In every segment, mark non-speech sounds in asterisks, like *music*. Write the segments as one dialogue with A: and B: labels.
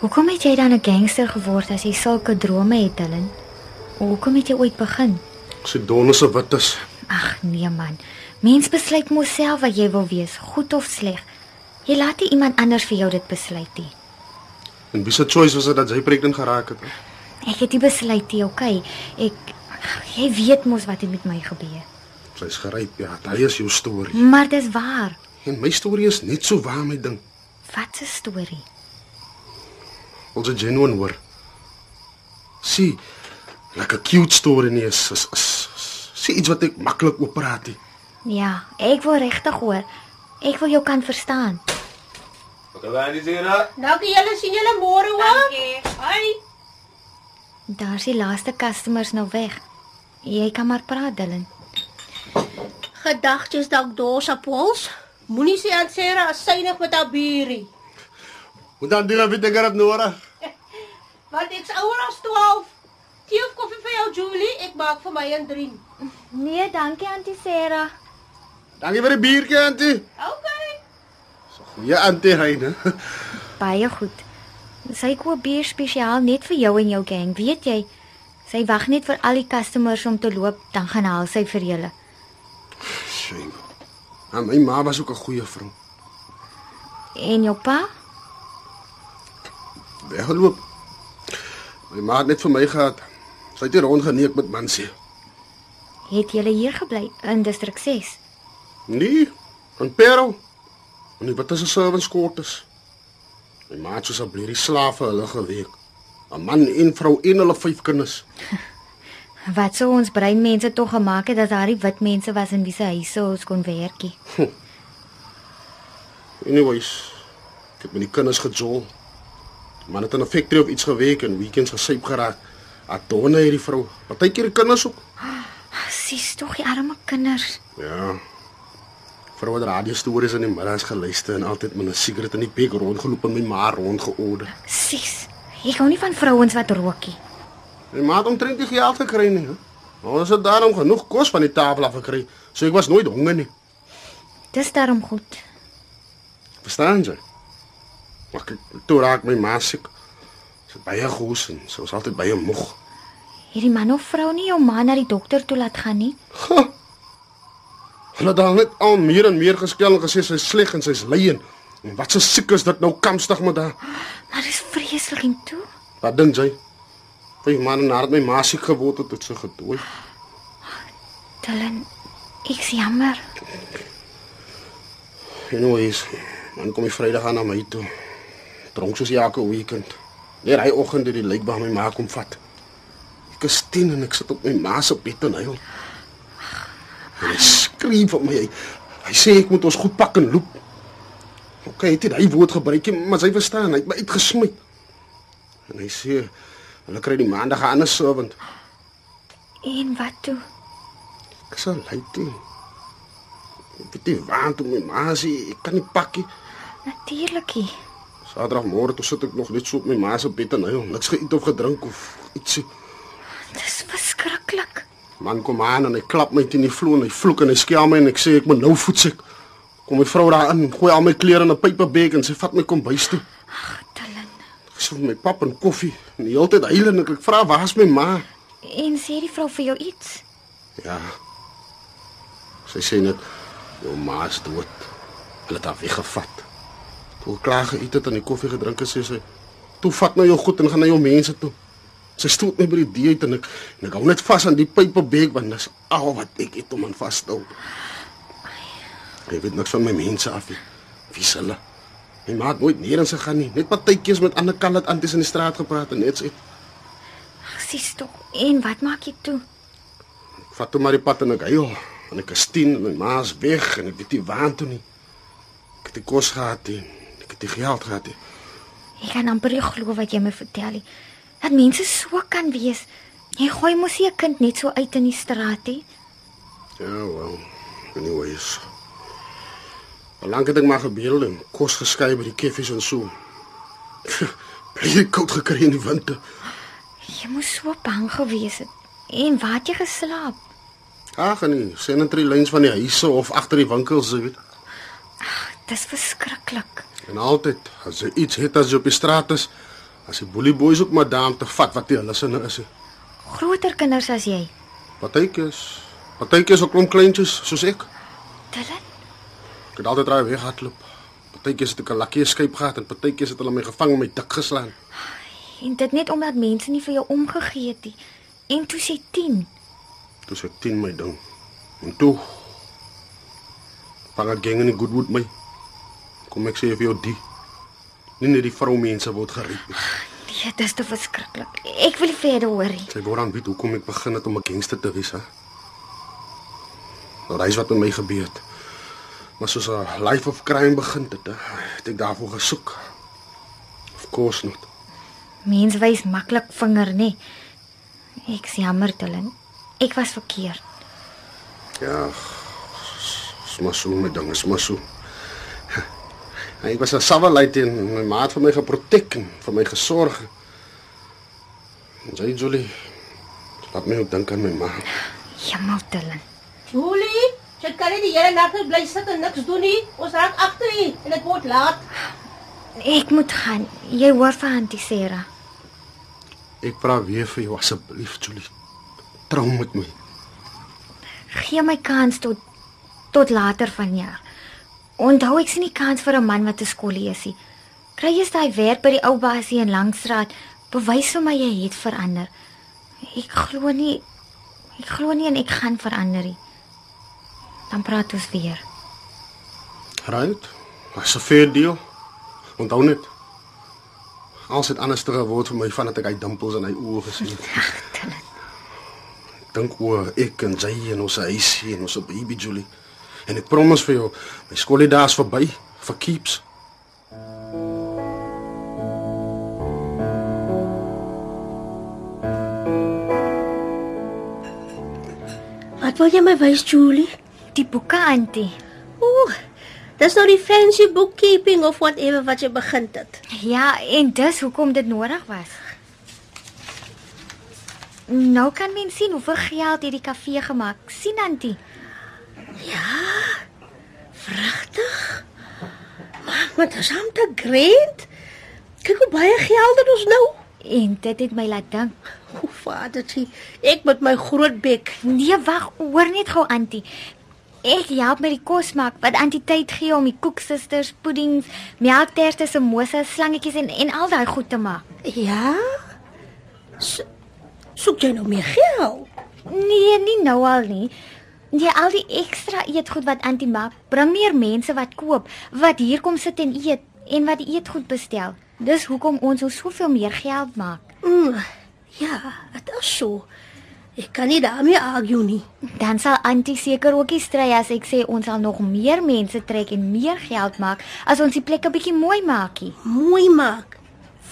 A: Hoekom het jy dan 'n gangster geword as jy sulke drome het, Dylan? Hoekom het jy ooit begin?
B: Ek se donderse wit is.
A: Ag nee man. Mens besluit mos self wat jy wil wees, goed of sleg. Jy laat nie iemand anders vir jou dit besluit nie.
B: En wie se choice was dit dat jy pregnant geraak het?
A: Ek het nie besluit nie, okay. Ek jy weet mos wat het met my gebeur.
B: Sy's geryp, ja. Daai is jou storie.
A: Maar dis waar.
B: En my storie is net so waar my ding.
A: Wat 'n storie.
B: Ons is genuine hoor. Sien, like 'n cute storie nie is is, is, is sien iets wat ek maklik oor praat nie.
A: Ja, ek wil regtig hoor. Ek wil jou kan verstaan.
C: Wat gaan jy sien nou?
D: Dankie julle sien julle môre hoor.
E: Dankie.
D: Hi.
A: Daar's die laaste customers nou weg. Jy kan maar praat, Dylan.
D: Gedagtes dalk dors op ons. Moenie sê aan Sarah as synig met haar buurie.
B: Moet dan doen wat ek gerad nodig.
D: Want ek's ouer as 12. Tee of koffie vir jou Julie, ek maak vir my en drink.
A: Nee, dankie Auntie Sarah.
B: Dankie vir die biertjie, antie.
D: Okay.
B: So goeie antie Heine.
A: Baie goed. Sy koop bier spesiaal net vir jou en jou gang, weet jy? Sy wag net vir al die customers om te loop, dan gaan haal sy vir julle.
B: Shame. Maar my ma was ook 'n goeie vrou.
A: En jou pa?
B: Weggeloop. My ma het net vir my gehad. Sy het hier rondgeneek met mansie.
A: Het julle hier gebly in distrik 6?
B: Nee, van Perel. En wat is 'n servants quarters? My ma het soos 'n bleerie slawe hulle geweek. 'n Man en vrou en hulle vyf kinders.
A: Wat sou ons breinmense tog gemaak het dat daar nie wit mense was in wie se huise ons kon werkie?
B: Anyways, ek het met die kinders gejol. Die Man het in 'n factory of iets gewerk en weekends gesyp geraak. Adonna hierdie vrou. Partykeer die kinders ook.
A: Sis, tog die arme kinders.
B: Ja. Vrou het radio stories in die middags geluister en altyd met 'n sigaret in die bek rondgeloop en my ma rondgeorde.
A: Sis, ek hou nie van vrouens wat rookie.
B: My ma het omtrent nie geld gekry nie. hè. Maar ons het daarom genoeg kos van die tafel af gekry, so ek was nooit honger nie.
A: Dis daarom goed.
B: Verstaan jy? Maar kyk, toe raak my ma siek. Sy het baie goes en sy was altyd baie moeg.
A: Hierdie man of vrou nie jou man na die dokter toe laat gaan nie.
B: Huh. Hulle het haar net al meer en meer geskel en gesê sy's sleg en sy's leien. En wat 'n siek is dit nou kamstig met haar.
A: Maar dis vreeslik en toe.
B: Wat dink jy? Vyf maande nadat my ma siek geword het, het sy gedooi.
A: Dylan, ek's jammer.
B: Anyways, dan kom ek Vrydag aan na my toe. Dronk soos elke weekend. Net hy oggend het die lijk by my ma kom vat. Ek is 10 en ek sit op my ma se bed en huil. En hy skree vir my. Hy, hy sê ek moet ons goed pak en loop. OK, hy het nie hy woord gebruik nie, maar sy verstaan, hy het my uitgesmy. En hy sê hulle kry die maandag 'n ander servant.
A: En wat toe?
B: Ek sal lei toe. Ek weet nie waar toe my ma sê ek kan nie pak nie.
A: Natuurlikie.
B: Saterdagmôre toe sit ek nog net so op my ma se bed en huil, niks geëet of gedrink of ietsie.
A: Dis verskriklik.
B: Man kom aan en hy klap my teen die vloer en hy vloek en hy skel my en ek sê ek moet nou voetsek. Kom my vrou daar in, gooi al my klere in 'n paperbag en sy vat my kombuis toe.
A: Dylan.
B: Ek sê vir my pap en koffie en die hele tyd huil en ek, ek vra waar's my ma?
A: En sê die vrou vir jou iets?
B: Ja. Sy sê net jou ma is dood. Hulle het haar weggevat. Toe ek klaar geëet het en die koffie gedrink het, sê sy: "Toe vat nou jou goed en gaan na jou mense toe." Sy stoot my by die deur uit en ek en ek hou net vas aan die pyperbek want dis al wat ek het om aan vas te hou. Ek weet niks van my mense af nie. Wie is hulle? My ma het nooit neer in sy gaan nie. Net partytjies met ander kallat anties in die straat gepraat en net so.
A: Ag, sies tog. En wat maak jy toe?
B: Ek Vat toe maar die pad en ek huil. En ek is 10 en my ma is weg en ek weet nie waartoe nie. Ek het die kos gehad en ek het die geld gehad. nie.
A: Ek kan amper nie glo wat jy my vertel nie. Dat mense so kan wees. Jy gooi mos nie 'n kind net so uit in die straat nie.
B: Ja, wel. Anyways. Belank het ek maar gebeel en kos geskei by die keffies en so. *laughs* Bly koud gekry in die winter.
A: Jy moes so bang gewees het. En waar het jy geslaap?
B: Ag nee, sanitary lines van die huise of agter die winkels, jy weet.
A: Dis verskriklik.
B: En altyd as jy iets het as jy op die straat is, As die boelie boys ook madame te vat wat die hulle sinne is. hè.
A: Groter kinders as jy.
B: Partytjies, partytjies ook klomp kleintjies soos ek.
A: Dylan,
B: Ek het altyd raai weghardloop. Partytjies het ek 'n lakkie skuip gehad en partytjies het hulle my gevang en my dik geslaan.
A: en dit net omdat mense nie vir jou omgegee het nie. En toe sê 10.
B: Toe sê 10 my ding. En toe Panga gang in die Goodwood my. Kom ek sê vir jou die. Nie net die vroumense word geriep. nie.
A: Nee, dit is te verskriklik. Ek wil nie verder hoor nie.
B: Sy wou dan weet hoekom ek begin het om 'n gangster te wees, hè? Nou, dis wat met my gebeur het. Maar soos 'n life of crime begin het, hè, het ek daarvoor gesoek. Of course not.
A: Mense wys maklik vinger, nê? Ek is jammer, Dylan. Ek was verkeerd.
B: Ja. Dis maar so my ding, is maar so. *laughs* En ek was 'n sawalite en my maat vir my geprotek en vir my gesorg. En sy Julie laat my ook dink aan my ma.
A: Jammer, Dylan.
D: Julie, jy kan nie die hele nag net bly sit en niks doen nie. Ons raak agter u en dit word laat.
A: Ek moet gaan. Jy hoor vir Auntie Sarah.
B: Ek vra weer vir jou asseblief, Julie. Trou met my.
A: Gee my kans tot tot later vanjaar. Onthou ek sien nie kans vir 'n man wat 'n skollie is nie. Kry eers daai werk by die ou basie in Langstraat. Bewys vir my jy het verander. Ek glo nie ek glo nie en ek gaan verander nie. Dan praat ons weer.
B: Right? Dis 'n fair deal. Onthou net. Als dit anders terug word vir my vandat ek hy dimpels in hy oë gesien het.
A: Ag, Dylan.
B: Dink oor ek en sy en ons huisie en ons baby Julie. En ek promise vir jou, my skooldae is verby vir keeps.
E: Wat wil jy my wys, Julie?
A: Die boeke, Auntie.
E: Ooh, dis nou die fancy bookkeeping of whatever wat jy begin het.
A: Ja, en dis hoekom dit nodig was. Nou kan mens sien hoeveel geld hierdie kafee gemaak. sien Auntie.
E: Pragtig. Maar maar dis amper grand. Kyk hoe baie geld het ons nou.
A: En dit het my laat dink.
E: O, vadertjie, ek met my groot bek.
A: Nee, wag, hoor net gou Auntie. Ek help met die kosmaak wat Auntie tyd gee om die koeksisters, puddings, melkterte, samosas, slangetjies en en al daai goed te maak.
E: Ja? So, soek jy nou meer geld?
A: Nee, nie nou al nie. Nee, al die ekstra eetgoed wat Auntie maak, bring meer mense wat koop, wat hier kom sit en eet en wat die eetgoed bestel. Dis hoekom ons ons soveel meer geld maak.
E: Mm, ja, dit is so. Ek kan nie daarmee argue nie.
A: Dan sal Auntie seker ook nie stry as ek sê ons sal nog meer mense trek en meer geld maak as ons die plek 'n bietjie mooi maakie.
E: Mooi maak.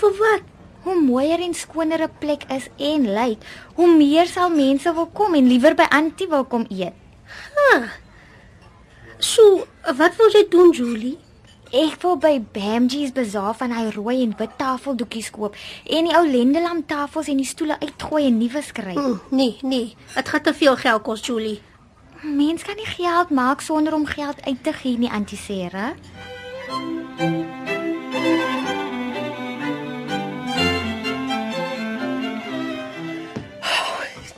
E: Vir wat?
A: Hoe mooier en skoner 'n plek is en lyk, hoe meer sal mense wil kom en liewer by Auntie wil kom eet.
E: So, wat wil jy doen, Julie?
A: Ek wil by Bamjies Bazaar van hy rooi en wit tafeldoekies koop en die ou lendelam tafels en die stoele uitgooi en nuwe skry.
E: Mm, nee, nee. Dit gaan te veel geld kos, Julie.
A: Mens kan nie geld maak sonder om geld uit te gee nie, Auntie Sarah.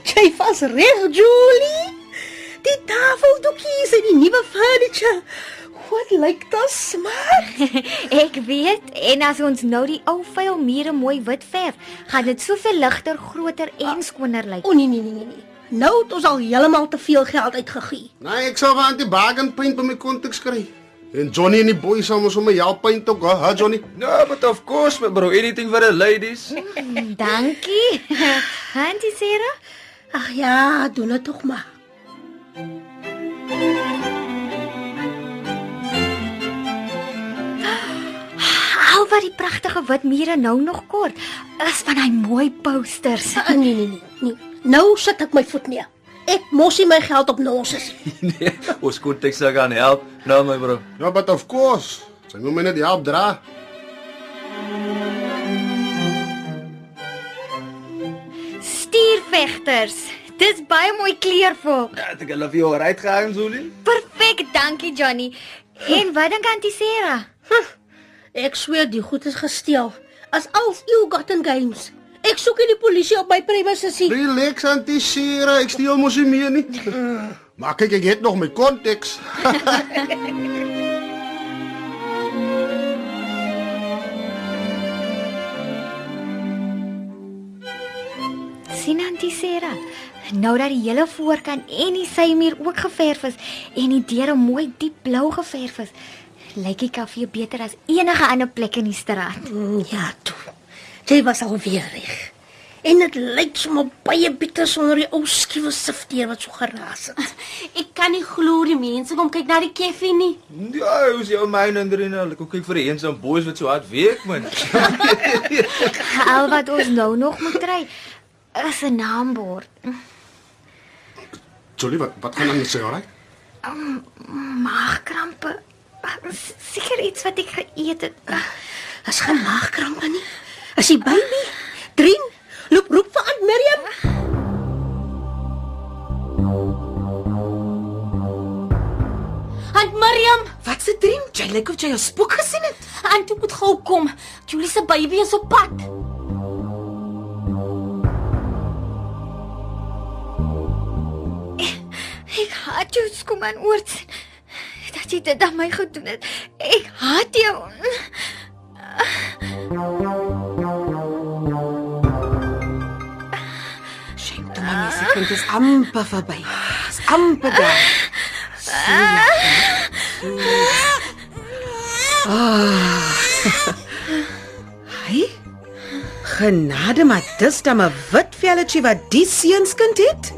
E: Jy was reg, Julie. Die tafeldoekies en die nuwe furniture. Wat lyk dit smaak?
A: Ek weet en as ons nou die ou vuil mure mooi wit verf, gaan dit soveel ligter, groter en skoner lyk.
E: O nee, nee, nee, nee, nee. Nou het ons al heeltemal te veel geld uitgegee.
B: Nee, ek sal vir Auntie Bargain paint by my kontak skry. En Johnny en die boys sal ons om my help paint ook, hè, Johnny?
C: No, Nou, but of course, my bro, anything for the ladies. *laughs*
A: Dankie. Auntie Sarah,
E: Ag ja, doen dit tog maar.
A: al wat die pragtige wit mure nou nog kort is van hy mooi posters.
E: Ah, nee, nee, nee, nee. Nou sit ek my voet neer. Ek mos nie my geld op nonsens.
C: nee, ons kontak sal gaan help. Nou my bro.
B: Ja, but of course. Sy moet my net help dra.
A: Stuurvegters. Dis baie mooi kleurvol.
C: Dat Ja, ek hulle vir jou right gaan Julie.
A: Perfek, dankie Johnny. En wat dink Auntie Sarah?
E: Ek sweer die goed is gesteel. as al ill-gotten gains. Ek soek nie die polisie op my premises nie.
B: Relax Auntie Sera, ek steel mos nie meer nie. *laughs* Maar kyk, ek het nog my konteks.
A: Sien Auntie Sera, nou dat die hele voorkant en die symuur ook geverf is en die deure mooi diep blou geverf is, lyk die kafee beter as enige ander plek in die straat.
E: Mm, Ja, toe. Jy was alweer reg. En dit lyk sommer baie bitter sonder die ou skiewe sifteer wat so geraas het.
F: *laughs* Ek kan nie glo die mense kom kyk na die keffie nie.
C: Ja, hoe is jou myn Andrina? Ek kyk vir die eens en boys wat so hard werk *laughs* man.
A: Al wat ons nou nog moet kry is 'n naambord.
B: Jolie, wat wat gaan aan met sy oor?
A: Mm, Maagkrampe. S- Seker iets wat ek geëet het.
E: As geen maagkrampe nie. As die baby Drien loop roep vir Aunt Miriam.
F: Aunt Miriam,
G: Wat se dream? Jy lyk of jy 'n spook gesien het.
F: Aunt moet gou kom. Julie se baby is op pad.
A: Ek haat jou skom aan oort. Dat jy dit aan my gedoen het. Ek haat jou.
G: Shame toe my mens, kind is amper verby. Is amper daar. So. Ah. Hy? Genade maar dis dan 'n wit velletjie wat die seunskind het.